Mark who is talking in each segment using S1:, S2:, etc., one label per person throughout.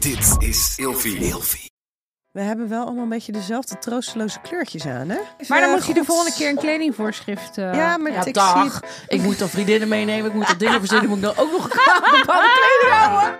S1: Dit is Ilfie.
S2: We hebben wel allemaal een beetje dezelfde troosteloze kleurtjes aan, hè?
S3: Maar dan moet je de
S2: Gods-
S3: volgende keer een kledingvoorschrift... eh,
S2: eh, Ja, maar
S4: Ja,
S2: ik zie
S4: dag.
S2: het-
S4: Ik moet dan vriendinnen meenemen. Ik moet dat dingen verzinnen. Moet ik dan ook nog een bepaalde kleding houden?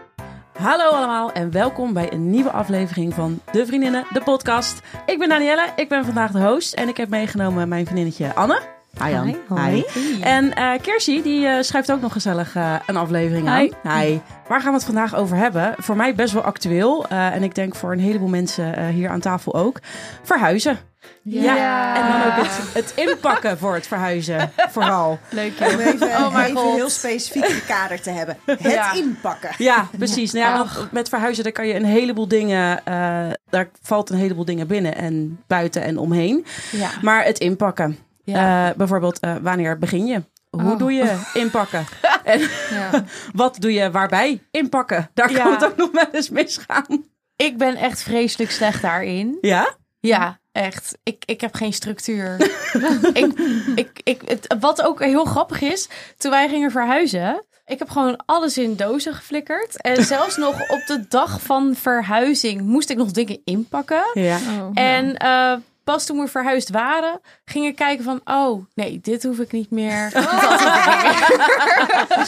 S4: Hallo allemaal en welkom bij een nieuwe aflevering van De Vriendinnen, de podcast. Ik ben Danielle, ik ben vandaag de host en ik heb meegenomen mijn vriendinnetje Anne. Hi Anne.
S3: Hi.
S4: En eh Kersie, die eh, schrijft ook nog gezellig eh, een aflevering aan.
S3: Hi.
S4: Hi. Waar gaan we het vandaag over hebben? Voor mij best wel actueel eh, en ik denk voor een heleboel mensen eh, hier aan tafel ook. Verhuizen.
S3: Ja.
S4: En dan ook het, het inpakken voor het verhuizen, vooral.
S3: Leuk,
S2: Om
S3: joh.
S2: even,
S3: Oh mijn
S2: even
S3: god.
S2: heel specifiek een kader te hebben. Het
S4: Ja.
S2: inpakken.
S4: Ja, precies. Nou ja,
S3: Ach.
S4: want met verhuizen daar kan je een heleboel dingen, eh, daar valt een heleboel dingen binnen en buiten en omheen.
S3: Ja.
S4: Maar het inpakken.
S3: Ja.
S4: Eh, bijvoorbeeld, eh, wanneer begin je? Hoe
S3: Oh.
S4: doe je inpakken? en
S3: Ja.
S4: wat doe je waarbij inpakken? Daar
S3: Ja.
S4: kan het ook nog wel eens misgaan.
S3: Ik ben echt vreselijk slecht daarin.
S4: Ja?
S3: Ja, echt. Ik, ik heb geen structuur. ik, ik, ik, het- wat ook heel grappig is, toen wij gingen verhuizen, ik heb gewoon alles in dozen geflikkerd. En zelfs nog op de dag van verhuizing moest ik nog dingen inpakken.
S4: Ja.
S5: Oh.
S3: En eh, pas toen we verhuisd waren, ging ik kijken van, oh nee, dit hoef ik niet meer.
S5: Ze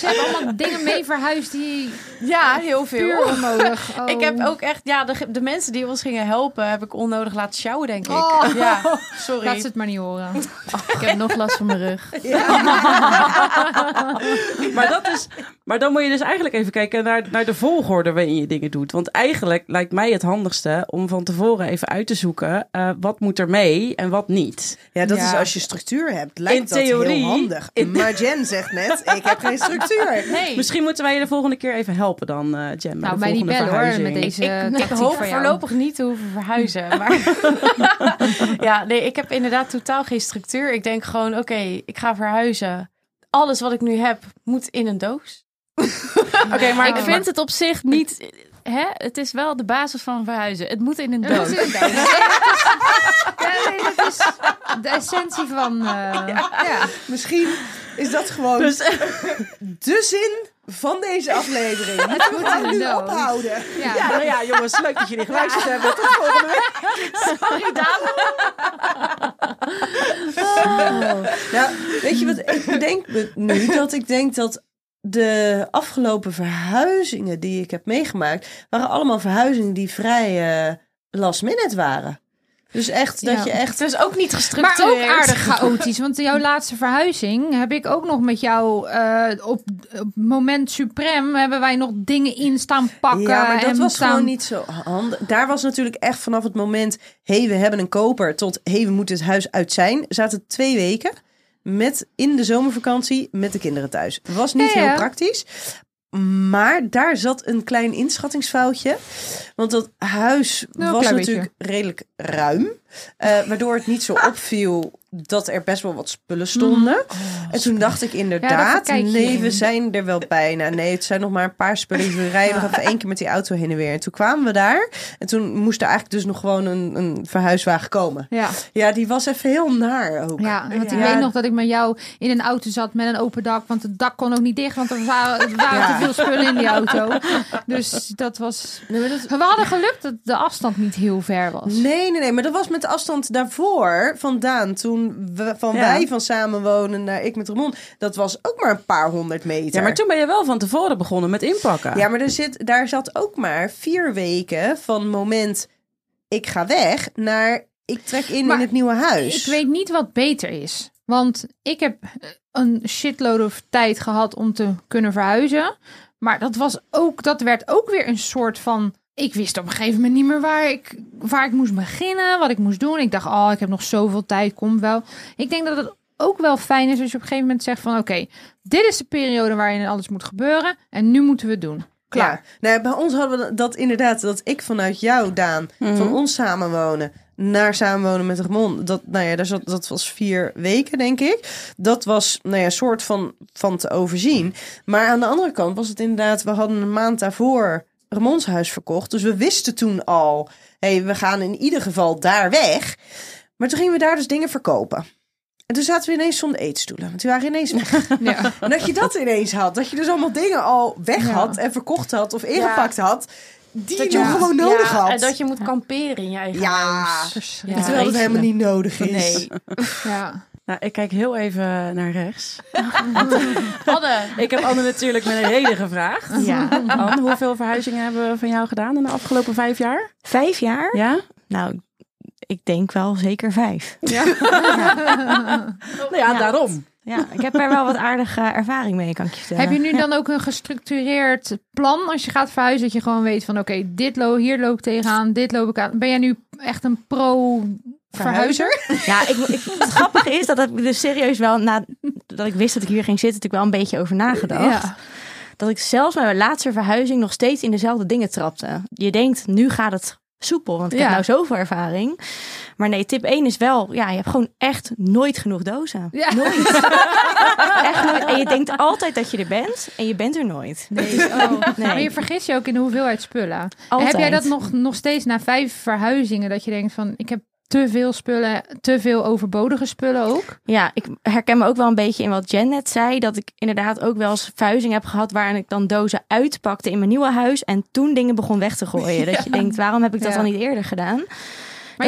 S5: hebben allemaal dingen mee verhuisd die
S3: Ja, heel
S5: puur
S3: veel.
S5: onnodig. Oh.
S3: Ik heb ook echt, ja, de, de mensen die ons gingen helpen, heb ik onnodig laten sjouwen, denk ik.
S5: Oh.
S3: Ja, sorry.
S5: Laat ze het maar niet horen. Ik heb nog last van mijn rug.
S4: Maar, dat is, maar dan moet je dus eigenlijk even kijken naar, naar de volgorde waarin je dingen doet. Want eigenlijk lijkt mij het handigste om van tevoren even uit te zoeken eh, wat moet er mee en wat niet.
S2: Ja, dat
S3: Ja.
S2: is als je structuur hebt. Lijkt
S4: In
S2: dat
S4: theorie-
S2: heel handig.
S4: in-
S2: Maar Jen zegt net, ik heb geen structuur.
S3: Nee.
S4: Misschien moeten wij je de volgende keer even helpen dan, eh Jen. bij
S5: Nou,
S4: de
S5: mij niet
S4: volgende
S5: bellen hoor,
S4: verhuizing.
S5: met deze
S3: ik, ik
S5: tactiek
S3: hoop
S5: van jou.
S3: voorlopig niet te hoeven verhuizen. Maar ja, nee, ik heb inderdaad totaal geen structuur. Ik denk gewoon, oké, ik ga verhuizen. Alles wat ik nu heb, moet in een doos.
S4: Oké, maar
S6: ik vind het op zich niet. Hè? Het is wel de basis van verhuizen. Het moet in een
S5: Dat
S6: doos.
S5: is- nee, dat is- Ja, nee, dat is de essentie van... eh,
S2: Ja, misschien is dat gewoon
S4: Dus,
S2: de zin van deze aflevering.
S5: Het
S2: We
S5: moet
S2: gaan
S5: in een
S2: nu
S5: doos.
S2: ophouden.
S5: ja.
S4: ja, nou ja, jongens, leuk dat jullie geluisterd hebben. Tot volgende week.
S2: Nou, weet je wat ik bedenk me nu? Dat ik denk dat de afgelopen verhuizingen die ik heb meegemaakt... waren allemaal verhuizingen die vrij eh, last minute waren. Dus echt, dat
S5: Ja.
S2: je echt...
S3: Het is ook niet
S5: Maar
S3: gestructureerd.
S5: ook aardig chaotisch, want jouw laatste verhuizing heb ik ook nog met jou eh, op, op moment suprem hebben wij nog dingen in staan pakken.
S2: Ja, maar dat
S5: en
S2: was
S5: staan...
S2: gewoon niet zo handig. Daar was natuurlijk echt vanaf het moment... hé, hey, we hebben een koper, tot hé, hey, we moeten het huis uit zijn... zaten twee weken met in de zomervakantie met de kinderen thuis. Was niet
S5: Ja, ja.
S2: heel praktisch. Maar daar zat een klein inschattingsfoutje. Want dat huis
S5: Nou, een
S2: was
S5: klein
S2: natuurlijk redelijk ruim. eh, waardoor het niet zo
S5: Ah.
S2: opviel dat er best wel wat spullen stonden.
S5: Mm-hmm. Oh,
S2: en toen dacht ik inderdaad,
S5: verkijk je
S2: nee, we
S5: in.
S2: zijn er wel bijna. Nee, het zijn nog maar een paar spullen. Dus We rijden nog even één keer met die auto heen en weer. En toen kwamen we daar. En toen moest er eigenlijk dus nog gewoon een, een verhuiswagen komen.
S5: Ja.
S2: Ja, die was even heel naar ook.
S5: Ja, want ik
S2: Ja.
S5: weet nog dat ik met jou in een auto zat met een open dak. Want het dak kon ook niet dicht, want er waren, er waren te veel spullen in die auto. Dus dat was... We hadden geluk dat de afstand niet heel ver was.
S2: Nee, nee, nee. Maar dat was met de afstand daarvoor vandaan. Toen we, van
S4: Ja.
S2: wij van samenwonen naar ik met Ramon. Dat was ook maar een paar honderd meter.
S4: Ja, maar toen ben je wel van tevoren begonnen met inpakken.
S2: Ja, maar er zit, daar zat ook maar vier weken van moment ik ga weg naar ik trek in
S5: Maar
S2: in het nieuwe huis.
S5: Ik weet niet wat beter is. Want ik heb eh, een shitload of tijd gehad om te kunnen verhuizen. Maar dat was ook, dat werd ook weer een soort van. Ik wist op een gegeven moment niet meer waar ik, waar ik moest beginnen, wat ik moest doen. Ik dacht, oh, ik heb nog zoveel tijd, komt wel. Ik denk dat het ook wel fijn is als je op een gegeven moment zegt van... oké, dit is de periode waarin alles moet gebeuren en nu moeten we het doen. Klaar.
S2: Ja. Nou, bij ons hadden we dat inderdaad, dat ik vanuit jou, Daan, van ons samenwonen naar samenwonen met Ramon. Dat, nou ja, daar zat, dat was vier weken, denk ik. Dat was nou ja, een soort van, van te overzien. Maar aan de andere kant was het inderdaad, we hadden een maand daarvoor Ramons huis verkocht. Dus we wisten toen al, hé, hey, we gaan in ieder geval daar weg. Maar toen gingen we daar dus dingen verkopen. En toen zaten we ineens zonder eetstoelen. Want die waren ineens weg.
S5: Ja.
S2: En dat je dat ineens had. Dat je dus allemaal dingen al weg
S5: Ja.
S2: had en verkocht had of ingepakt had. die
S3: dat
S2: nog
S3: je moet-
S2: gewoon nodig
S3: ja,
S2: had.
S3: en dat je moet kamperen in je eigen
S2: Ja.
S3: huis.
S5: Verschrikkelijk.
S2: Terwijl het helemaal niet nodig is.
S3: Nee.
S5: Ja.
S4: Nou, ik kijk heel even naar rechts.
S3: Hadden.
S4: Ik heb Anne natuurlijk met een reden gevraagd.
S1: Ja.
S4: Anne, hoeveel verhuizingen hebben we van jou gedaan in de afgelopen vijf jaar?
S1: Vijf jaar?
S4: Ja?
S1: Nou, ik denk wel zeker vijf.
S4: Nou ja, daarom.
S1: Ja, ik heb er wel wat aardige ervaring mee, kan ik je vertellen.
S5: Heb je nu dan ook een gestructureerd plan als je gaat verhuizen? Dat je gewoon weet van oké, dit lo hier loop ik tegenaan, dit loop ik aan. Ben jij nu echt een pro-verhuizer?
S1: Ja, ik, ik, het grappige is dat heb ik dus serieus wel, nadat ik wist dat ik hier ging zitten, natuurlijk wel een beetje over nagedacht.
S5: Ja.
S1: Dat ik zelfs met mijn laatste verhuizing nog steeds in dezelfde dingen trapte. Je denkt, nu gaat het soepel, want ik
S5: Ja.
S1: heb nou zoveel ervaring. Maar nee, tip 1 is wel, ja, je hebt gewoon echt nooit genoeg dozen.
S5: Ja. Nou,
S1: Nooit. echt nooit. En je denkt altijd dat je er bent en je bent er nooit. Dus-
S5: Nee. Oh.
S1: Nee.
S5: Maar je vergist je ook in de hoeveelheid spullen.
S1: Altijd.
S5: Heb jij dat nog, nog steeds na vijf verhuizingen dat je denkt van ik heb te veel spullen, te veel overbodige spullen ook?
S1: Ja, ik herken me ook wel een beetje in wat Jen net zei. Dat ik inderdaad ook wel eens verhuizing heb gehad... waarin ik dan dozen uitpakte in mijn nieuwe huis... en toen dingen begon weg te gooien. Dat je denkt, waarom heb ik dat
S5: Ja.
S1: al niet eerder gedaan?
S5: Maar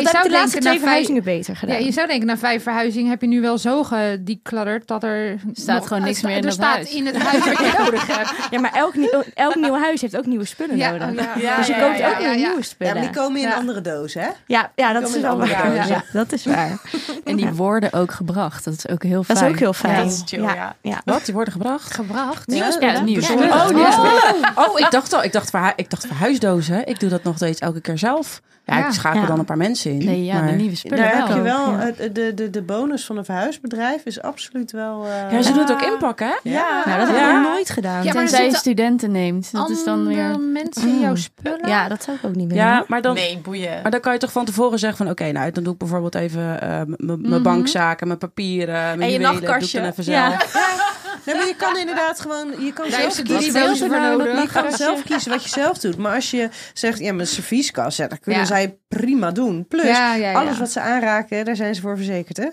S1: Maar dat
S5: je zou
S1: heb ik de laatste
S5: denken
S1: twee
S5: na vijf
S1: verhuizingen beter
S5: Ja,
S1: gedaan.
S5: je zou denken, na vijf verhuizingen heb je nu wel zo gedeclutterd dat er... eh,
S6: Staat gewoon niks meer in
S5: er
S6: dat
S5: staat
S6: huis.
S5: in het huis wat je nodig hebt.
S1: Ja, maar elk, nieuw, elk nieuw huis heeft ook nieuwe spullen
S5: Ja,
S1: nodig.
S5: oh ja.
S1: Ja, dus je
S3: ja,
S1: koopt
S3: ja,
S1: ook
S5: ja,
S1: weer
S5: ja.
S1: nieuwe
S2: Ja,
S1: spullen.
S2: maar
S1: Ja,
S2: die komen in
S5: Ja.
S2: een andere doos, hè?
S1: ja, dat
S2: komen
S1: is wel
S2: in de
S1: waar.
S5: andere huizen.
S1: Ja, dat is waar.
S6: En die worden ook gebracht. Dat is ook heel
S1: Dat
S6: fijn.
S1: is ook heel fijn.
S6: dat is chill, ja.
S1: ja.
S4: Wat? Die worden gebracht?
S5: Gebracht.
S6: Nieuwe
S5: Ja.
S6: spullen. Ja, nieuwe spullen.
S4: Oh,
S5: nieuwe
S4: spullen. Oh, ik dacht al. Ik dacht, verhu- ik dacht verhuisdozen. Ik doe dat nog steeds elke keer zelf. Ja,
S5: Ja.
S4: ik schakel
S1: Ja.
S4: dan een paar mensen in.
S6: Nee, ja,
S4: maar-
S6: de nieuwe spullen
S2: Daar heb
S6: wel.
S2: je wel,
S1: ja.
S2: eh, de, de, de bonus van een verhuisbedrijf is absoluut wel... eh,
S4: Ja, ze doen het ook inpakken, hè?
S2: ja.
S1: Nou, dat heb ik
S4: Ja.
S1: nog nooit gedaan.
S5: Ja,
S1: Ja,
S5: maar er
S6: Tenzij je
S5: zitten
S6: studenten neemt. Dat is dan weer...
S5: andere mensen in jouw spullen.
S1: dat zou ik ook niet willen.
S4: Ja, maar dan,
S3: Nee, boeien.
S4: maar dan kan je toch van tevoren zeggen van... Oké, nou, dan doe ik bijvoorbeeld even eh, m- m- mijn
S6: Mhm.
S4: bankzaken, mijn papieren, mijn
S3: En je
S4: juwelen,
S3: nachtkastje.
S4: Doe ik dan even
S1: Ja.
S4: zelf.
S2: Nee, maar je kan inderdaad gewoon... Je kan
S5: Daar
S2: zelf
S5: heeft ze drie
S2: kiezen.
S5: dozen voor nodig.
S2: Je kan zelf kiezen wat je zelf doet. Maar als je zegt, ja, mijn servieskast, ja, dat kunnen
S5: Ja.
S2: zij prima doen. Plus,
S5: Ja, ja, ja.
S2: alles wat ze aanraken, daar zijn ze voor verzekerd, hè?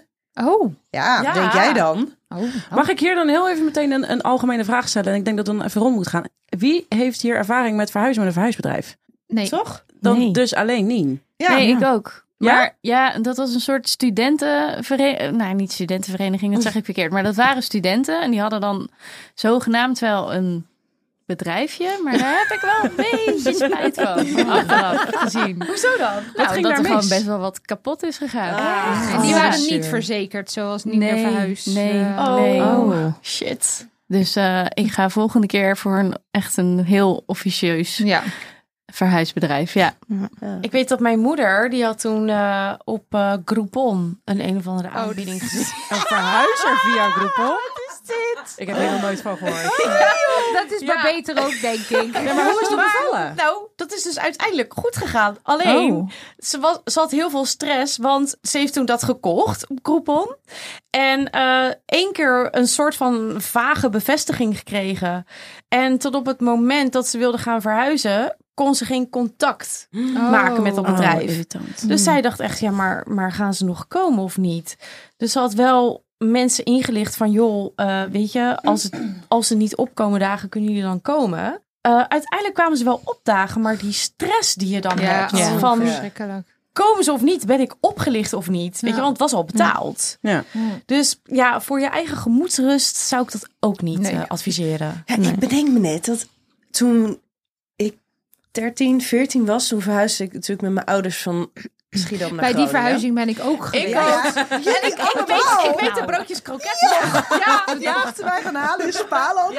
S5: Oh.
S2: Ja,
S3: Ja.
S2: denk jij dan?
S5: Oh. oh.
S4: Mag ik hier dan heel even meteen een, een algemene vraag stellen? En ik denk dat we dan even rond moet gaan. Wie heeft hier ervaring met verhuizen met een verhuisbedrijf?
S5: Nee.
S2: Toch?
S4: Dan
S1: Nee.
S4: dus alleen niet.
S2: Ja.
S6: nee, ik ook.
S4: Ja?
S6: Maar ja, dat was een soort studentenvereniging. Nou, niet studentenvereniging, dat zeg ik verkeerd. Maar dat waren studenten en die hadden dan zogenaamd wel een bedrijfje. Maar daar heb ik wel een beetje spijt van. Achteraf gezien.
S3: Hoezo dan?
S6: Nou,
S4: ging
S6: dat
S4: daar
S6: er gewoon
S4: mis?
S6: best wel wat kapot is gegaan.
S5: En die
S6: Oh,
S5: waren
S4: zeur.
S5: niet verzekerd, zoals niet meer verhuisd.
S6: Nee,
S5: eh,
S6: nee.
S1: Oh.
S6: Shit. Dus eh, ik ga volgende keer voor een, echt een heel officieus
S5: Ja.
S6: verhuisbedrijf. Ja.
S3: Ik weet dat mijn moeder, die had toen eh, op eh Groupon een een of andere aanbieding gezien.
S4: Een verhuizer via Groupon? Wat is dit? Oh. Ik heb er nog nooit van gehoord.
S5: Dat is maar beter ook, denk ik.
S4: Ja, maar hoe is dat bevallen?
S3: Nou, dat is dus uiteindelijk goed gegaan. Alleen, ze, was, ze had heel veel stress, want ze heeft toen dat gekocht op Groupon. En eh één keer een soort van vage bevestiging gekregen. En tot op het moment dat ze wilde gaan verhuizen, kon ze geen contact maken met dat
S5: Oh.
S3: bedrijf.
S6: irritant.
S3: Dus
S4: Mm.
S3: zij dacht echt, ja, maar, maar gaan ze nog komen of niet? Dus ze had wel mensen ingelicht van, joh, eh, weet je, als, het, als ze niet opkomen dagen, kunnen jullie dan komen? Eh, uiteindelijk kwamen ze wel opdagen, maar die stress die je dan
S5: Ja,
S3: hebt
S5: oh,
S3: van,
S5: verschrikkelijk.
S3: komen ze of niet? Ben ik opgelicht of niet? Weet
S5: Ja.
S3: je, want het was al betaald.
S4: Ja.
S3: Dus ja, voor je eigen gemoedsrust zou ik dat ook niet
S5: Nee. Oh,
S3: eh, adviseren.
S2: Ja, ik bedenk me net dat toen ik 13, 14 was, toen verhuisde ik natuurlijk met mijn ouders van Schiedam naar
S5: Bij die
S2: Groningen.
S5: verhuizing Nou. ben ik ook geweest.
S2: Ja, ja. ik,
S3: Ik weet, ik weet de broodjes kroketten nog. Ja,
S2: Ja, achter wij gaan halen in Spaland.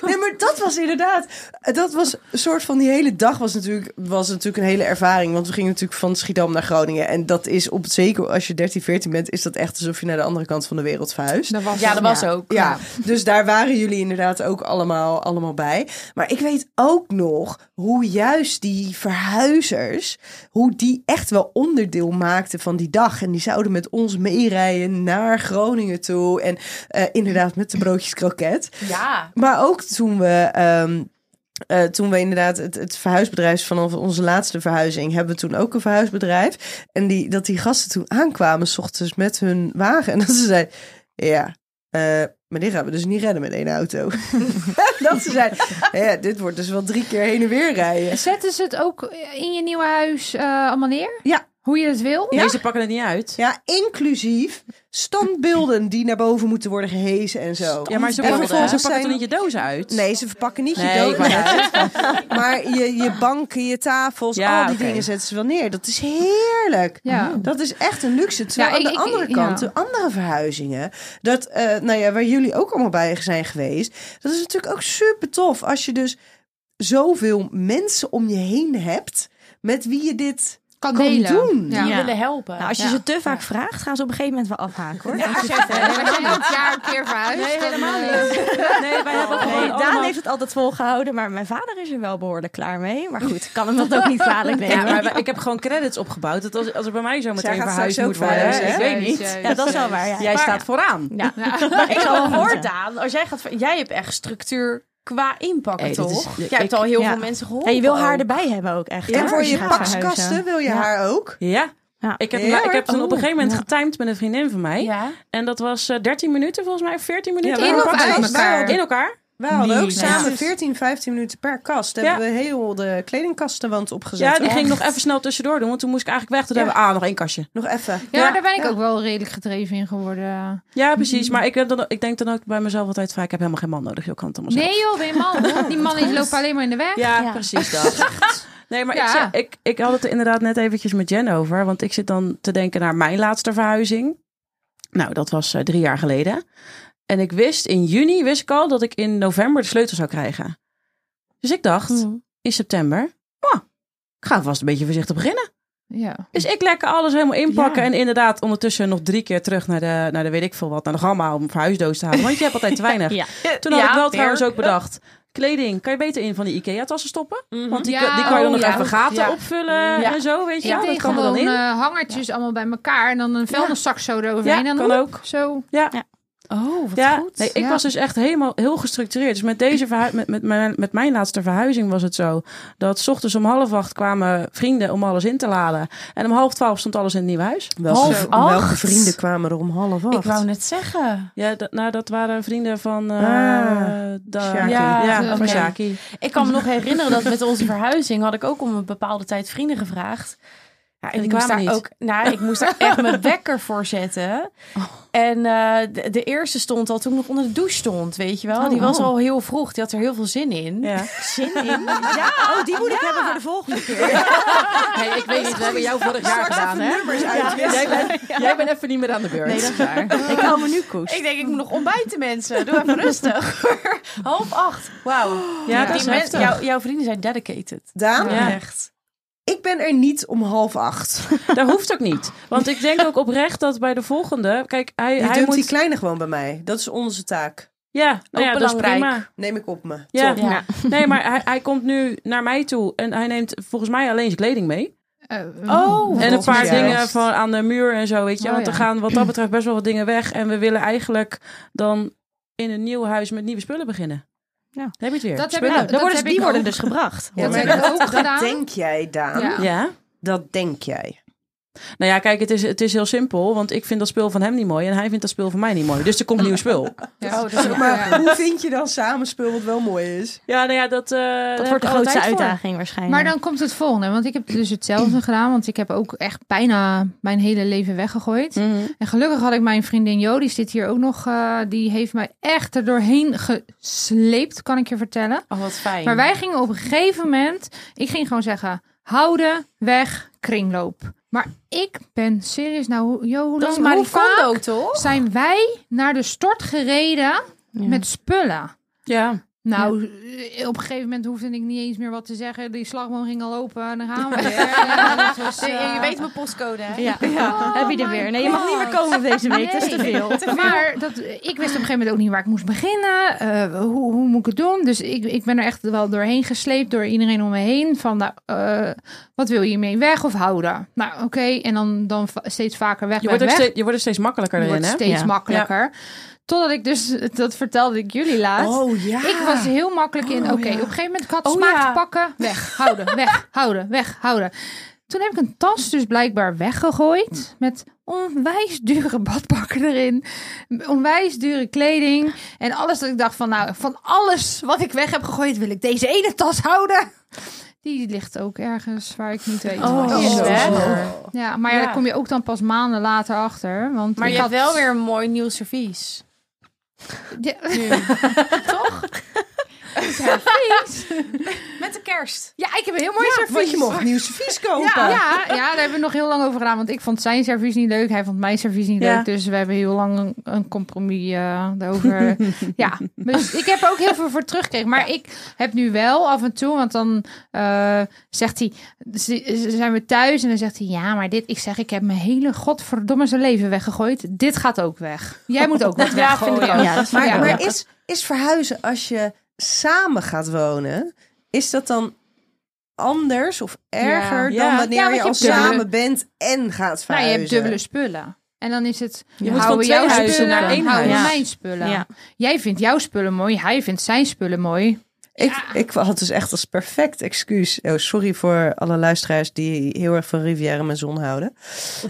S2: Nee, maar dat was inderdaad... Dat was een soort van... Die hele dag was natuurlijk, was natuurlijk een hele ervaring. Want we gingen natuurlijk van Schiedam naar Groningen. En dat is op het zeker... Als je 13, 14 bent, is dat echt alsof je naar de andere kant van de wereld verhuist.
S5: Dat was
S3: ja, dat was ook.
S2: Ja, dus daar waren jullie inderdaad ook allemaal, allemaal bij. Maar ik weet ook nog hoe juist die verhuizers, hoe die echt wel onderdeel maakten van die dag. En die zouden met ons meerijden naar Groningen toe. En eh, inderdaad met de broodjes kroket.
S3: Ja.
S2: Maar ook toen we. ehm, eh, toen we inderdaad het, het verhuisbedrijf vanaf onze laatste verhuizing hebben we toen ook een verhuisbedrijf. En die, dat die gasten toen aankwamen, s ochtends met hun wagen. En dat ze zeiden: Ja, eh, Maar dit gaan we dus niet redden met één auto. dat ze zijn. Ja, dit wordt dus wel drie keer heen en weer rijden.
S5: Zetten ze het ook in je nieuwe huis eh, allemaal neer?
S2: Ja.
S5: Hoe je het wil?
S4: Nee, ze pakken het niet uit.
S2: Ja, inclusief standbeelden die naar boven moeten worden gehezen en zo.
S4: Ja, maar ze
S2: En
S4: pakken, ze
S2: vervolgens
S4: pakken toch
S2: zijn-
S4: niet je dozen uit?
S2: Nee, ze verpakken niet
S4: Nee,
S2: je
S4: ik
S2: dood.
S4: wou
S2: maar je, je banken, je tafels,
S4: Ja,
S2: al die
S4: oké.
S2: dingen zetten ze wel neer. Dat is heerlijk. Mm.
S5: Ja.
S2: Dat is echt een luxe. Terwijl
S5: Ja,
S2: aan
S5: ik-
S2: de
S5: ik-
S2: andere
S5: ja.
S2: kant, de andere verhuizingen, dat, eh, nou ja, waar jullie ook allemaal bij zijn geweest, dat is natuurlijk ook super tof als je dus zoveel mensen om je heen hebt met wie je dit
S5: Kan
S2: kan
S5: delen.
S2: doen.
S5: Ja.
S3: Die willen helpen.
S1: Nou, als je
S5: Ja.
S1: ze te vaak vraagt, gaan ze op een gegeven moment wel afhaken hoor.
S5: Als je elk jaar een keer verhuist.
S4: Nee,
S5: dan,
S4: helemaal
S5: eh,
S4: niet. Nee, wij hebben gewoon
S1: Nee, Oh, Daan
S4: allemaal...
S1: heeft het altijd volgehouden, maar mijn vader is er wel behoorlijk klaar mee. Maar goed, ik kan hem dat ook niet kwalijk nemen.
S4: Ja, maar wij- ik heb gewoon credits opgebouwd. Dat als, als er bij mij zo meteen
S2: gaat
S4: verhuisd
S2: straks
S4: moet
S2: ook
S4: worden,
S2: verhuizen,
S4: ik
S2: hè?
S4: weet niet.
S5: Juist,
S1: Ja, dat is wel
S5: juist.
S1: waar. Ja.
S4: Jij
S1: Maar-
S4: staat vooraan.
S1: Ja.
S3: Maar ik
S1: zal
S3: zal
S1: wel moeten.
S3: hoor, Daan, als jij gaat, jij hebt echt structuur qua inpakken,
S4: Hey, dit is-
S3: toch?
S4: ik-
S3: jij hebt al heel
S1: ja.
S3: veel mensen geholpen.
S1: Ja, je wil haar
S3: ook.
S1: erbij hebben ook echt. hè,
S2: En voor
S1: als
S2: je
S1: gaat verhuizen.
S2: pakskasten wil je
S1: Ja.
S2: haar ook.
S4: Ja.
S1: Ja.
S4: Ik heb,
S2: Ja,
S4: maar ik
S2: hoor.
S4: heb toen op een gegeven moment
S1: Ja.
S4: getimed met een vriendin van mij.
S3: Ja.
S4: En dat was eh, 13 minuten volgens mij, of 14 minuten.
S5: in
S4: per
S5: of
S4: kast.
S5: uit
S2: Wij
S5: elkaar?
S4: In elkaar.
S2: Wij hadden ook
S4: Niet.
S2: samen
S4: Ja.
S2: 14, 15 minuten per kast.
S4: Ja.
S2: Hebben we heel de kledingkastenwand opgezet.
S4: Ja, die ging
S2: Echt.
S4: nog even snel tussendoor doen, want toen moest ik eigenlijk weg. Toen hebben we, ah, nog één kastje.
S2: nog even.
S5: Ja, maar daar ben ik ook wel redelijk gedreven in geworden.
S4: Ja, precies. Maar ik, heb dan, ik denk dan ook bij mezelf altijd vaak, ik heb helemaal geen man nodig. Je kan het allemaal zelf.
S5: Nee joh, ben je man? Die mannen die lopen alleen maar in de weg.
S4: Ja,
S1: Ja.
S4: precies dat. Nee, maar ik,
S5: Ja.
S4: zeg- ik, ik had het er inderdaad net eventjes met Jen over. Want ik zit dan te denken naar mijn laatste verhuizing. Nou, dat was eh, drie jaar geleden. En ik wist in juni, wist ik al, dat ik in november de sleutel zou krijgen. Dus ik dacht, in september, "Ah, ik ga vast een beetje voorzichtig beginnen.
S5: Ja.
S4: Dus ik lekker alles helemaal inpakken. En inderdaad ondertussen nog drie keer terug naar de, naar de weet ik veel wat, naar de gamma om verhuisdoos te halen. Want je hebt altijd te weinig.
S1: Ja.
S4: Toen had
S3: Ja,
S4: ik wel
S3: fair.
S4: trouwens ook bedacht. Kleding, kan je beter in van die IKEA-tassen stoppen?
S3: Mhm.
S4: Want die,
S5: Ja,
S4: kun- die kan je dan
S5: oh,
S4: nog
S5: ja.
S4: even gaten
S3: Ja.
S4: opvullen
S3: Ja.
S4: en zo, weet je.
S5: Ja,
S4: wel. dat
S5: deed
S4: kan er
S5: gewoon
S4: dan in.
S5: eh, hangertjes allemaal bij elkaar en dan een vuilniszak zo eroverheen.
S4: Ja,
S5: en dan
S4: kan
S5: hoep,
S4: ook.
S5: Zo.
S6: Oh, wat
S4: ja,
S6: goed.
S4: nee, ik
S5: Ja.
S4: was dus echt helemaal heel gestructureerd. Dus met, deze verhu- met, met, mijn, met mijn laatste verhuizing was het zo... dat 's ochtends om half acht kwamen vrienden om alles in te laden. En om half twaalf stond alles in het nieuwe huis.
S3: Half
S2: Welke, welke
S3: acht.
S2: vrienden kwamen er om half acht?
S3: Ik wou net zeggen.
S4: Ja, dat, nou, dat waren vrienden van... eh
S2: Ah,
S4: da-
S2: Sjaki.
S4: ja,
S3: Ja,
S4: van
S3: oké.
S4: Sjaki.
S3: Ik kan me nog herinneren dat met onze verhuizing had ik ook om een bepaalde tijd vrienden gevraagd. Ja, en
S4: die
S3: ik moest
S4: kwamen
S3: daar
S4: niet.
S3: ook. Nou, ik moest daar echt mijn wekker voor zetten. En eh, de, de eerste stond al toen ik nog onder de douche stond, weet je wel. die was al heel vroeg. Die had er heel veel zin in.
S4: Ja.
S1: Zin in? Ja, oh, die moet ik hebben voor de volgende keer.
S4: ik weet niet, we hebben jou vorig jaar gedaan, hè? Jij, bent, jij bent even niet meer aan de beurt.
S1: Nee, dat is waar. Ik hou me nu koest.
S3: Ik denk, ik moet nog ontbijten, mensen. Doe even rustig. Half acht. Wauw.
S4: ja, dat
S3: Die
S4: is
S3: men-
S4: heftig.
S3: jouw- jouw vrienden zijn dedicated.
S2: Daan,
S4: Ja.
S3: Echt.
S2: ik ben er niet om half acht.
S4: Dat hoeft ook niet. Want ik denk ook oprecht dat bij de volgende... Kijk, hij,
S2: Je
S4: hij
S2: doet
S4: moet...
S2: die kleine gewoon bij mij. Dat is onze taak.
S4: Ja, nou
S3: Ook
S4: ja, dat is
S3: belangrijk.
S4: prima.
S2: Neem ik op me.
S4: Ja.
S2: Top.
S3: Ja.
S4: Nee, maar hij, hij komt nu naar mij toe en hij neemt volgens mij alleen zijn kleding mee.
S5: Eh,
S3: Oh.
S4: en een
S2: volgens
S4: paar
S2: mij
S4: dingen
S2: juist.
S4: van aan de muur en zo, weet je.
S5: Oh,
S4: want er
S5: ja.
S4: gaan wat dat betreft best wel wat dingen weg. En we willen eigenlijk dan in een nieuw huis met nieuwe spullen beginnen.
S1: Ja.
S4: Dan heb je het weer.
S5: Dat heb
S4: Spullen.
S5: ik-
S1: Dan worden
S5: heb
S1: ze, die
S5: ik
S1: worden
S5: ook.
S1: dus gebracht.
S2: Ja,
S1: hoor
S2: maar
S1: ik.
S5: heb ik
S2: dat,
S5: ook
S2: dat
S5: gedaan.
S2: denk jij, Daan.
S5: Ja.
S4: Ja.
S2: Dat denk jij.
S4: Nou ja, kijk, het is, het is heel simpel. Want ik vind dat spul van hem niet mooi en hij vindt dat spul van mij niet mooi. Dus er komt nieuw spul.
S5: Ja.
S2: Maar
S5: Ja.
S2: hoe vind je dan samenspul wat wel mooi is?
S4: Ja, nou ja, dat... eh, daar heb
S1: Dat
S4: ik
S1: wordt de
S4: alle
S1: grootste
S4: tijd voor.
S1: uitdaging waarschijnlijk.
S5: Maar dan komt het volgende, want ik heb dus hetzelfde gedaan, want ik heb ook echt bijna mijn hele leven weggegooid.
S4: Mhm.
S5: En gelukkig had ik mijn vriendin Jo, die zit hier ook nog, eh, die heeft mij echt er doorheen gesleept, kan ik je vertellen.
S3: Oh, wat fijn.
S5: Maar wij gingen op een gegeven moment, ik ging gewoon zeggen, houden, weg, kringloop. Maar ik ben serieus, nou, Jo, hoe
S3: dat is
S5: lang, hoe vaak
S3: Maricondo, toch?
S5: zijn wij naar de stort gereden
S1: Ja.
S5: met spullen?
S4: Ja.
S5: Nou, eh, op een gegeven moment hoefde ik niet eens meer wat te zeggen. Die slagboom ging al open en dan gaan we weer. Ja, dat was,
S3: Je-
S5: eh,
S3: Je weet mijn postcode, hè?
S1: Ja.
S5: Oh
S1: heb je er
S5: my
S1: weer. Nee, je mag niet meer
S5: God.
S1: komen deze week. Dat is te
S5: Nee.
S1: veel.
S5: Maar dat, ik wist op een gegeven moment ook niet waar ik moest beginnen. Eh, hoe, hoe moet ik het doen? Dus ik, ik ben er echt wel doorheen gesleept door iedereen om me heen. Van, nou, eh, wat wil je hiermee? Weg of houden? Nou, oké. En dan, dan va- steeds vaker weg,
S4: Je
S5: weg,
S4: wordt, ook
S5: weg.
S4: steeds, je wordt er steeds makkelijker
S5: Je
S4: in,
S5: wordt
S4: hè?
S5: steeds
S1: Ja.
S5: makkelijker. Totdat ik dus, dat vertelde ik jullie laatst.
S2: Oh ja.
S5: Ik was heel makkelijk in, oké, op een gegeven moment ik had
S3: Oh,
S5: smaak
S3: ja.
S5: te pakken. Weg, houden, weg, houden, weg, houden. Toen heb ik een tas dus blijkbaar weggegooid
S3: Hm.
S5: met onwijs dure badpakken erin. Onwijs dure kleding en alles dat ik dacht van nou, van alles wat ik weg heb gegooid wil ik deze ene tas houden. Die ligt ook ergens waar ik niet weet.
S3: Oh,
S5: waar die
S3: is
S5: is.
S3: weg.
S2: Oh.
S5: Ja, maar ja,
S3: Ja.
S5: daar kom je ook dan pas maanden later achter. Want
S3: Maar
S5: ik
S3: je hebt
S5: had-
S3: wel weer een mooi nieuw servies.
S5: Ja,
S3: Nu. Toch? Met de kerst.
S5: ja, ik heb een heel mooi
S2: Ja, want
S5: servies.
S2: je mocht nieuw servies kopen.
S5: Ja, ja, ja, daar hebben we nog heel lang over gedaan. Want ik vond zijn servies niet leuk. Hij vond mijn servies niet
S4: Ja.
S5: leuk. Dus we hebben heel lang een, een compromis eh daarover. ja, dus ik heb er ook heel veel voor teruggekregen. Maar ik heb nu wel af en toe, want dan eh, zegt hij, z- z- zijn we thuis en dan zegt hij, ja, maar dit, ik zeg, ik heb mijn hele godverdomme zijn leven weggegooid. Dit gaat ook weg. Jij moet ook wat
S3: Ja, vind ik
S5: weggooien.
S3: ook.
S1: Ja, dat
S2: Maar,
S1: vind ik ook.
S2: maar is, is verhuizen als je samen gaat wonen, is dat dan anders of erger
S4: Ja.
S2: dan wanneer
S5: Ja, want
S2: je
S5: je
S2: al
S5: hebt dubbele-
S2: samen bent en gaat
S5: Nou,
S2: verhuizen?
S5: je hebt dubbele spullen. En dan is het,
S4: Je moet van
S5: houden
S4: twee
S5: jouw
S4: huizen
S5: spullen,
S4: naar één
S5: houden
S1: huis.
S5: mijn spullen.
S1: Ja.
S5: Jij vindt jouw spullen mooi, hij vindt zijn spullen mooi.
S2: ik, ik had dus echt als perfect excuus. Oh, sorry voor alle luisteraars die heel erg van Rivière met zon houden.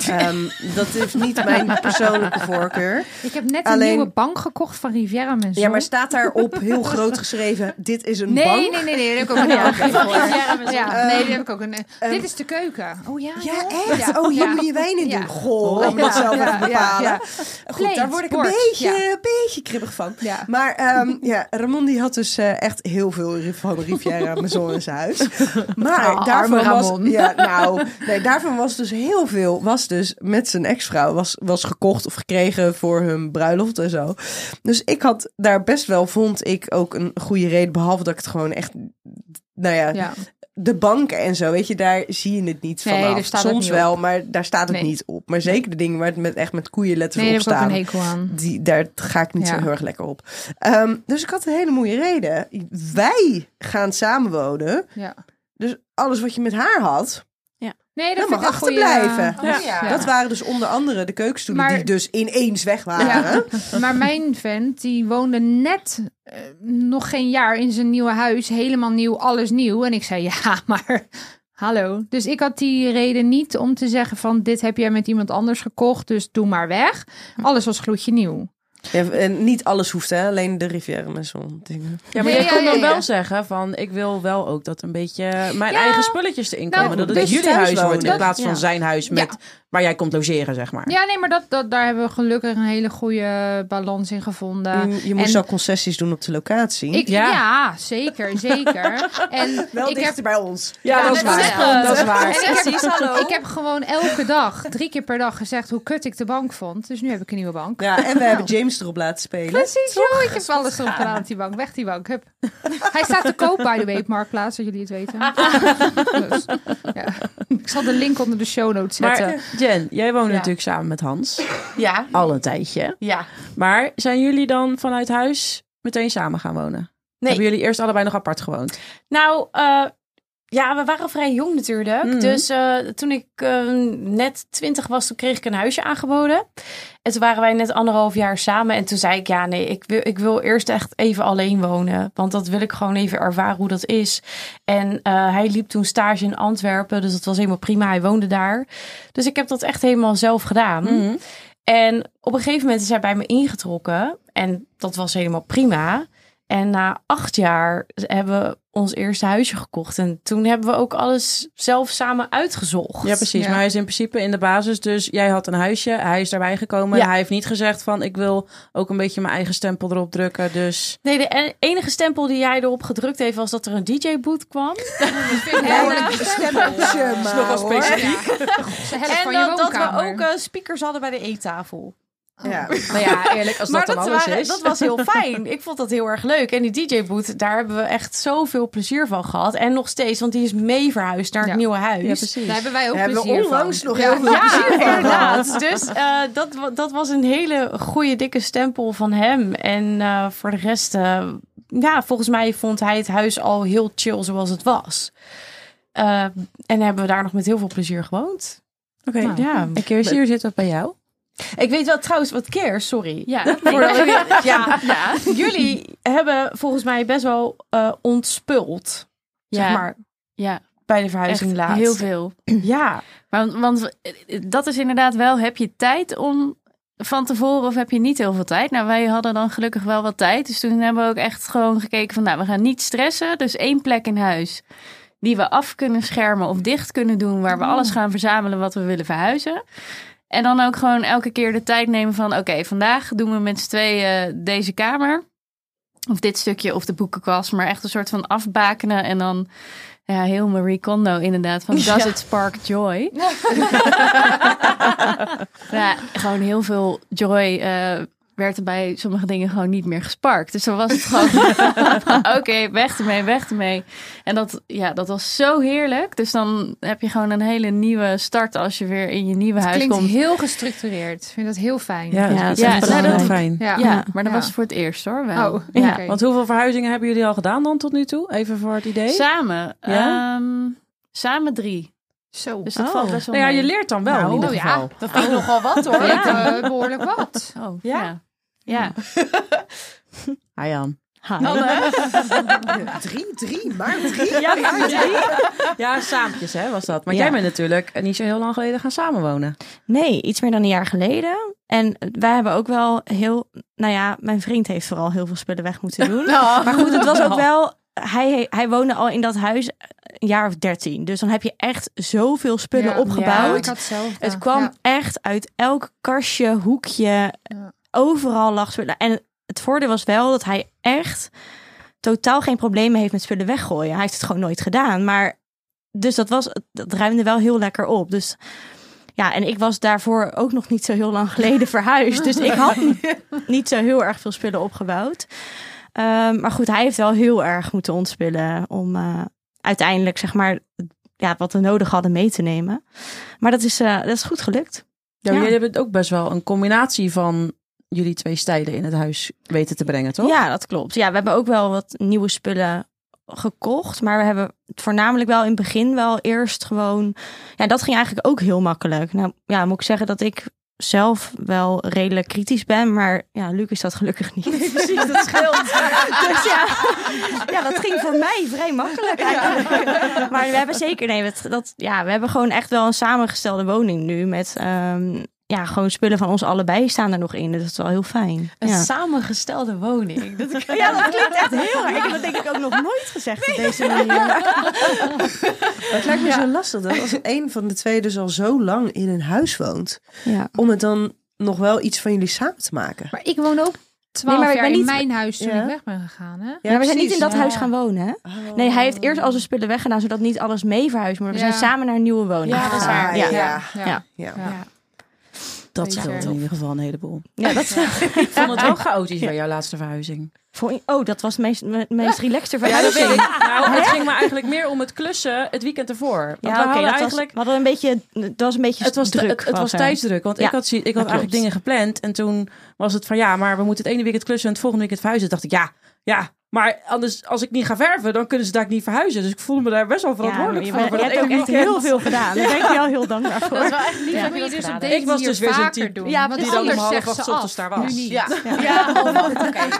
S2: Ehm, dat is niet mijn persoonlijke voorkeur.
S5: Ik heb net een
S2: Alleen-
S5: nieuwe bank gekocht van Riviera Mensen.
S2: Ja, maar staat daarop heel groot geschreven: dit is een
S5: nee,
S2: bank?
S5: nee, nee, nee, daar heb ik ook een bank
S3: Van
S5: voor.
S3: Riviera Maison.
S5: Ja, nee, daar heb ik ook een. dit is de keuken. Oh ja,
S2: Ja,
S5: joh.
S2: echt?
S5: Ja.
S2: Oh, hier
S5: Ja.
S2: moet je wijn in
S5: Ja.
S2: doen. Goh, ik moet het zelf
S5: Ja,
S2: even
S5: ja,
S2: bepalen.
S5: ja.
S2: Goed,
S5: Plate,
S2: daar word ik een
S5: bord,
S2: beetje,
S5: ja.
S2: een beetje kribbig van.
S5: Ja.
S2: Maar ehm, ja, Ramon die had dus eh, echt heel veel van Riviera Amazon in zijn huis. Maar
S5: Ah,
S2: daarvan,
S5: arme
S2: was,
S5: Ramon.
S2: ja, nou, nee, daarvan was dus heel veel, was dus met zijn ex-vrouw, was, was gekocht of gekregen voor hun bruiloft en zo. Dus ik had daar best wel, vond ik, ook een goede reden. Behalve dat ik het gewoon echt, nou ja,
S5: Ja.
S2: de banken en zo, weet je, daar zie je het niet
S5: Nee,
S2: vanaf.
S5: daar staat het
S2: Soms
S5: niet
S2: wel, maar daar staat het
S5: Nee.
S2: niet op. Maar zeker de dingen waar het met, echt met koeienletters
S5: Nee, daar
S2: op
S5: heb ik ook een
S2: staan.
S5: hekel aan.
S2: Die, daar ga ik niet
S5: Ja.
S2: zo heel erg lekker op. Ehm, dus ik had een hele mooie reden. Wij gaan samenwonen.
S5: Ja.
S2: Dus alles wat je met haar had,
S5: Nee, dat
S2: dat
S5: vind
S2: mag
S5: ik een goeie- eh,
S2: achterblijven.
S4: Ja.
S5: Ja.
S2: Dat waren dus onder andere de keukenstoelen
S5: Maar-
S2: die dus ineens weg waren.
S5: Maar mijn vent, die woonde net eh, nog geen jaar in zijn nieuwe huis. Helemaal nieuw, alles nieuw. En ik zei, ja, maar hallo. Dus ik had die reden niet om te zeggen van... dit heb jij met iemand anders gekocht, dus doe maar weg. Alles was gloedje nieuw.
S2: Ja, en niet alles hoeft, hè? alleen de Rivière Maison dingen.
S4: Ja, maar
S5: Ja,
S4: jij
S5: ja,
S4: kon
S5: ja,
S4: dan
S5: ja.
S4: wel zeggen van... ik wil wel ook dat een beetje mijn
S5: Ja.
S4: eigen spulletjes erin komen. dat het
S5: dus
S4: jullie
S2: thuis
S4: huis wordt in
S2: wonen.
S4: plaats van
S1: Ja.
S4: zijn huis... Met, waar jij komt logeren, zeg maar.
S5: Ja, nee, maar dat, dat, daar hebben we gelukkig een hele goede balans in gevonden.
S2: je, je moest
S5: en-
S2: wel concessies doen op de locatie.
S5: Ik, ja.
S4: Ja.
S5: zeker, zeker. En
S2: wel
S5: ik
S2: dichter
S5: heb
S2: bij ons.
S4: Ja, dat is
S5: dat is
S4: waar.
S5: wel-
S4: dat is waar.
S5: En ik, heb, ik heb gewoon elke dag, drie keer per dag gezegd hoe kut ik de bank vond. Dus nu heb ik een nieuwe bank.
S2: Ja, en we hebben James erop laten spelen.
S5: Precies, joh. Ik heb alles erop gedaan op die bank. Weg die bank. Hup. Hij staat te koop, by the way, op Marktplaats, dat jullie het weten. Dus, ja. Ik zal de link onder de show notes zetten.
S4: Maar eh, Jen, jij woont
S3: Ja.
S4: natuurlijk samen met Hans.
S3: Ja.
S4: Al een tijdje.
S3: Ja.
S4: Maar zijn jullie dan vanuit huis meteen samen gaan wonen?
S3: Nee.
S4: Hebben jullie eerst allebei nog apart gewoond?
S3: Nou, eh, ja, we waren vrij jong natuurlijk.
S4: Mhm.
S3: Dus eh, toen ik eh, net twintig was, toen kreeg ik een huisje aangeboden. En toen waren wij net anderhalf jaar samen. En toen zei ik, ja nee, ik wil, ik wil eerst echt even alleen wonen. Want dat wil ik gewoon even ervaren hoe dat is. En eh, hij liep toen stage in Antwerpen. Dus dat was helemaal prima. Hij woonde daar. Dus ik heb dat echt helemaal zelf gedaan. En op een gegeven moment is hij bij me ingetrokken. En dat was helemaal prima. En na acht jaar hebben we ons eerste huisje gekocht. En toen hebben we ook alles zelf samen uitgezocht.
S4: Ja, precies.
S5: Ja.
S4: Maar hij is in principe in de basis. Dus jij had een huisje, hij is daarbij gekomen.
S3: Ja.
S4: Hij heeft niet gezegd van ik wil ook een beetje mijn eigen stempel erop drukken. Dus
S3: Nee, de en- enige stempel die jij erop gedrukt heeft was dat er een DJ-boot kwam.
S5: en,
S2: Ja,
S5: eh,
S2: stempeltje, maar
S3: Oh,
S2: hoor.
S5: ze hebben
S3: En
S5: van je
S3: dat, dat we
S5: woonkamer.
S3: ook eh, speakers hadden bij de eettafel.
S2: Ja.
S4: nou ja, eerlijk, als
S3: maar
S4: dat dan alles
S3: waren-
S4: is.
S3: dat was heel fijn. Ik vond dat heel erg leuk. En die DJ-boot, daar hebben we echt zoveel plezier van gehad. En nog steeds, want die is mee verhuisd naar het
S5: Ja.
S3: nieuwe huis.
S4: Ja, precies.
S5: Daar hebben wij ook
S2: Hebben we
S5: plezier
S2: onlangs
S5: van.
S2: nog heel veel
S3: Ja, inderdaad. Dus eh, dat, wa- dat was een hele goede dikke stempel van hem. En eh, voor de rest, eh, ja, volgens mij vond hij het huis al heel chill zoals het was. Eh, en hebben we daar nog met heel veel plezier gewoond.
S4: Oké.
S3: Nou, ja.
S4: En Kirsten, hier zit dat bij jou.
S3: Ik weet wel trouwens wat keer, sorry.
S6: Ja,
S3: Voordat
S6: nee,
S3: we- ja.
S6: ja.
S3: Jullie hebben volgens mij best wel eh ontspult.
S6: Ja.
S3: Zeg maar.
S6: Ja.
S4: bij de verhuizing
S6: Echt
S4: laat.
S6: heel veel.
S4: Ja,
S6: Maar, want eh, dat is inderdaad wel, heb je tijd om van tevoren of heb je niet heel veel tijd? Nou, wij hadden dan gelukkig wel wat tijd. Dus toen hebben we ook echt gewoon gekeken van, nou, we gaan niet stressen. Dus één plek in huis die we af kunnen schermen of dicht kunnen doen. Waar we alles gaan verzamelen wat we willen verhuizen. En dan ook gewoon elke keer de tijd nemen van, oké, vandaag doen we met z'n tweeën deze kamer. Of dit stukje of de boekenkast. Maar echt een soort van afbakenen en dan... Ja, heel Marie Kondo inderdaad. Van does it spark joy? ja, gewoon heel veel joy eh, werd er bij sommige dingen gewoon niet meer gesparkt. Dus dan was het gewoon van, oké, weg ermee, weg ermee. En dat, ja, dat was zo heerlijk. Dus dan heb je gewoon een hele nieuwe start als je weer in je nieuwe huis
S5: Klinkt
S6: komt.
S5: heel gestructureerd. Ik vind dat heel fijn.
S4: ja,
S1: Ja,
S4: dat is
S6: ja,
S4: echt
S6: ja,
S4: wel
S3: nou,
S4: heel
S1: dat-
S4: fijn.
S5: Ja.
S6: Ja, maar dat
S5: Ja.
S6: was het voor het eerst hoor. Wel.
S5: Oh,
S6: ja.
S5: oké.
S4: Want hoeveel verhuizingen hebben jullie al gedaan dan tot nu toe? Even voor het idee.
S6: Samen.
S4: Ja?
S6: ehm, samen drie.
S5: Zo.
S6: Dus dat
S1: Oh.
S6: valt best wel
S4: Nou ja,
S6: mee.
S4: je leert dan wel
S5: Nou,
S4: in ieder
S5: oh ja.
S4: geval.
S3: Dat vind ik nogal wat hoor.
S5: Ja, eh, behoorlijk wat.
S6: Oh,
S4: Ja?
S6: ja. Ja.
S4: Hi, Ah, Jan.
S1: Nou,
S2: Drie, drie, maar drie.
S4: Ja, ja, saampjes hè, was dat. Maar
S1: Ja.
S4: jij bent natuurlijk eh, niet zo heel lang geleden gaan samenwonen.
S1: Nee, iets meer dan een jaar geleden. En wij hebben ook wel heel... Nou ja, mijn vriend heeft vooral heel veel spullen weg moeten doen.
S5: Nou.
S1: Maar goed, het was ook wel... Hij, hij woonde al in dat huis een jaar of dertien. Dus dan heb je echt zoveel spullen
S5: Ja.
S1: opgebouwd.
S5: Ja, ik had hetzelfde.
S1: Het kwam
S5: Ja.
S1: echt uit elk kastje, hoekje.
S5: Ja.
S1: Overal lag spullen. En het voordeel was wel dat hij echt totaal geen problemen heeft met spullen weggooien. Hij heeft het gewoon nooit gedaan. Maar dus dat, was, dat ruimde wel heel lekker op. Dus ja, en ik was daarvoor ook nog niet zo heel lang geleden verhuisd. Dus ik had niet- niet zo heel erg veel spullen opgebouwd. Ehm, maar goed, hij heeft wel heel erg moeten ontspullen om eh, uiteindelijk zeg maar ja, wat we nodig hadden mee te nemen. Maar dat is, eh, dat is goed gelukt.
S4: Ja, maar
S1: Ja.
S4: Jullie hebben ook best wel een combinatie van jullie twee stijlen in het huis weten te brengen, toch?
S1: Ja, dat klopt. Ja, we hebben ook wel wat nieuwe spullen gekocht. Maar we hebben het voornamelijk wel in het begin wel eerst gewoon... Ja, dat ging eigenlijk ook heel makkelijk. Nou ja, moet ik zeggen dat ik zelf wel redelijk kritisch ben. Maar ja, Luc is dat gelukkig niet.
S2: Precies, dat scheelt.
S1: Dus ja, ja, dat ging voor mij vrij makkelijk eigenlijk. Maar we hebben zeker, nee, dat, dat, ja, we hebben gewoon echt wel een samengestelde woning nu. Met ehm, ja, gewoon spullen van ons allebei staan er nog in. Dus dat is wel heel fijn.
S3: Een
S1: ja.
S3: samengestelde woning. Dat ik-
S1: Ja, dat klinkt echt heel erg. Ik heb dat denk ik ook nog nooit gezegd op deze manier.
S2: Het lijkt me zo lastig dat als een van de twee dus al zo lang in een huis woont,
S1: Ja.
S2: om het dan nog wel iets van jullie samen te maken.
S5: Maar ik woon ook
S1: Nee,
S5: twaalf
S1: maar ik
S5: jaar
S1: ben
S5: in
S1: niet-
S5: mijn huis toen
S2: Ja.
S5: ik weg ben gegaan. Hè?
S1: maar we zijn niet in dat
S2: precies.
S1: huis gaan wonen, hè?
S2: Oh.
S1: Nee, hij heeft eerst al zijn spullen weggedaan, zodat niet alles mee verhuisd wordt. We
S5: Ja.
S1: zijn samen naar een nieuwe woning
S3: Ja, dat is
S1: gegaan.
S2: waar.
S1: Ja, ja.
S2: Ja.
S5: ja.
S2: Ja.
S5: ja.
S4: dat
S5: Zeker.
S4: scheelt in ieder geval een heleboel.
S1: dat
S4: Ik vond het wel chaotisch bij jouw laatste verhuizing.
S1: Voor- Oh, dat was het meest, me- meest relaxte
S4: Ja, dat
S1: verhuizing.
S4: weet ik. Nou, het ging me eigenlijk meer om het klussen het weekend ervoor. Want we
S1: Ja, oké,
S4: hadden
S1: dat was,
S4: eigenlijk...
S1: we hadden een beetje, dat was een beetje
S4: Het was,
S1: druk.
S4: het, het was
S1: er.
S4: tijdsdruk, want
S1: Ja,
S4: ik had, zie- ik had
S1: klopt.
S4: eigenlijk dingen gepland. En toen was het van ja, maar we moeten het ene weekend klussen en het volgende weekend verhuizen. Dacht ik ja, ja, maar anders als ik niet ga verven, dan kunnen ze daar niet verhuizen. Dus ik voelde me daar best wel verantwoordelijk
S1: ja,
S4: voor.
S1: maar
S4: voor.
S1: Je
S4: dat
S1: hebt ook
S4: ene
S1: echt
S4: weekend.
S1: heel veel gedaan. Daar ben ik wel heel dankbaar voor.
S5: Dat is wel echt lief
S1: Ja.
S5: dat jullie dus op deze
S4: Ik was
S5: manier
S4: dus weer zo'n
S5: vaker
S4: type
S5: doen.
S1: Ja,
S5: Want
S1: precies.
S4: die dan om
S5: anders
S4: half
S5: zegt
S4: acht
S5: ze
S4: ochtends
S5: af.
S4: daar was.
S5: Nu niet.
S3: Ja.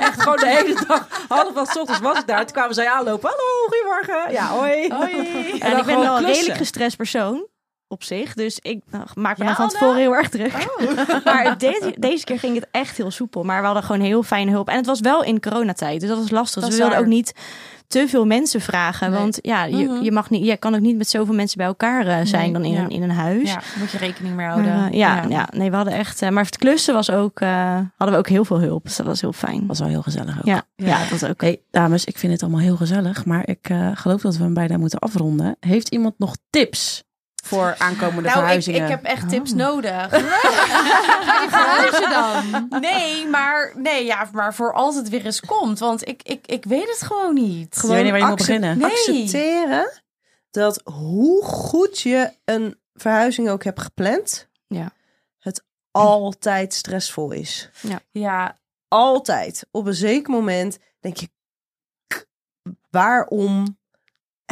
S4: Echt gewoon de hele dag, half wat 's ochtends was ik daar. Toen kwamen zij aanlopen. Hallo, goedemorgen. Ja, hoi.
S1: Ja,
S4: dan
S1: en ik ben
S4: gewoon
S1: wel een
S4: klussen.
S1: redelijk gestrest persoon op zich. Dus ik nou, maak me
S6: Ja,
S1: dan van
S6: Anne?
S1: tevoren heel erg druk. maar deze, deze keer ging het echt heel soepel. Maar we hadden gewoon heel fijne hulp. En het was wel in coronatijd. Dus dat was lastig.
S4: Dat
S1: dus
S4: is
S1: we wilden
S4: waar.
S1: ook niet te veel mensen vragen.
S5: Nee.
S1: Want ja, je, je, mag niet, je kan ook niet met zoveel mensen bij elkaar eh, zijn
S5: Nee,
S1: dan in,
S6: ja.
S1: een, in een huis.
S6: Ja, moet je rekening mee
S1: Maar,
S6: houden.
S1: eh, ja, ja. nee, we hadden echt. eh, maar het klussen was ook. eh, hadden we ook heel veel hulp. Dus dat was heel fijn.
S4: was wel heel gezellig ook.
S1: Ja, ja. dat was ook.
S4: Oké, dames, ik vind het allemaal heel gezellig, maar ik eh, geloof dat we hem bijna moeten afronden. Heeft iemand nog tips voor aankomende
S3: Nou, ik,
S4: verhuizingen?
S3: ik heb echt tips
S1: Oh.
S3: nodig.
S5: Ga je verhuizen dan?
S3: Nee, maar, nee ja, maar voor als het weer eens komt. Want ik, ik, ik weet het gewoon niet.
S4: weet niet waar je moet
S2: accep-
S4: beginnen.
S3: Nee.
S2: Accepteren dat hoe goed je een verhuizing ook hebt gepland,
S1: Ja.
S2: het altijd stressvol is.
S3: Ja,
S2: Altijd. Op een zeker moment denk je, "K, waarom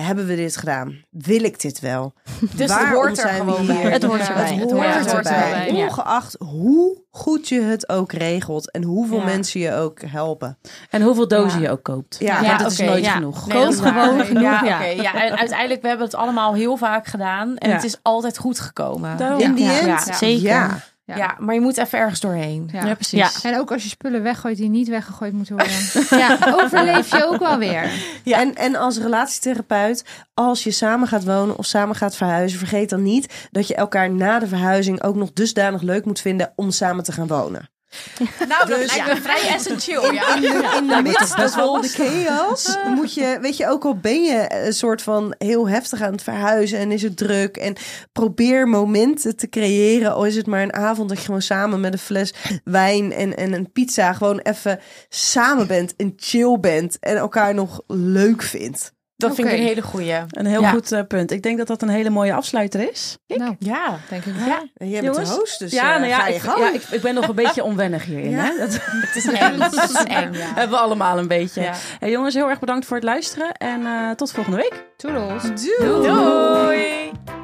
S2: hebben we dit gedaan? Wil ik dit wel?
S3: Dus
S2: Waarom
S3: het hoort er
S2: zijn we
S3: gewoon
S2: hier?
S3: bij.
S1: Het hoort erbij.
S2: Het
S1: Het
S2: hoort
S6: hoort
S2: erbij.
S6: erbij, ja.
S2: Ongeacht hoe goed je het ook regelt en hoeveel
S3: Ja.
S2: mensen je ook helpen.
S4: En hoeveel dozen je ook koopt.
S2: Ja,
S4: Want dat is
S6: oké,
S4: nooit
S6: ja.
S4: genoeg.
S1: Nee, dat is waar.
S3: gewoon genoeg. Ja,
S1: Ja.
S3: oké. ja, en uiteindelijk, we hebben het allemaal heel vaak gedaan. En
S4: Ja.
S3: het is altijd goed gekomen.
S4: Daarom.
S2: In die
S1: Ja,
S2: end,
S1: ja,
S2: ja.
S1: zeker.
S3: Ja. maar je moet even ergens doorheen.
S5: Ja.
S4: Ja, precies.
S5: En ook als je spullen weggooit die niet weggegooid moeten worden. ja, overleef je ook wel weer.
S2: En, en als relatietherapeut, als je samen gaat wonen of samen gaat verhuizen, vergeet dan niet dat je elkaar na de verhuizing ook nog dusdanig leuk moet vinden om samen te gaan wonen.
S3: Nou,
S2: Dus-
S3: lijkt me vrij essentieel. Ja.
S2: In de midst dat wel de chaos moet je, weet je, ook al ben je een soort van heel heftig aan het verhuizen en is het druk en probeer momenten te creëren. Al is het maar een avond dat je gewoon samen met een fles wijn en, en een pizza gewoon even samen bent en chill bent en elkaar nog leuk vindt.
S3: Dat vind ik
S5: Oké.
S3: een hele goeie.
S4: Een heel
S3: Ja.
S4: goed eh, punt. Ik denk dat dat een hele mooie afsluiter is.
S5: Nou,
S3: Ja.
S5: denk ik wel.
S3: Ja,
S2: En jij bent
S4: Jongens?
S2: de host, dus
S4: ja,
S2: eh,
S4: nou ja,
S2: ga je
S4: ik,
S2: gang.
S4: ja ik, ik ben nog een beetje onwennig hierin.
S2: Ja.
S4: Hè? Dat
S3: het is eng. Het is eng, ja.
S4: hebben we allemaal een beetje.
S3: Ja.
S4: Hey, jongens, heel erg bedankt voor het luisteren. En eh, tot volgende week.
S5: Toedels.
S4: Doei.
S3: Doei.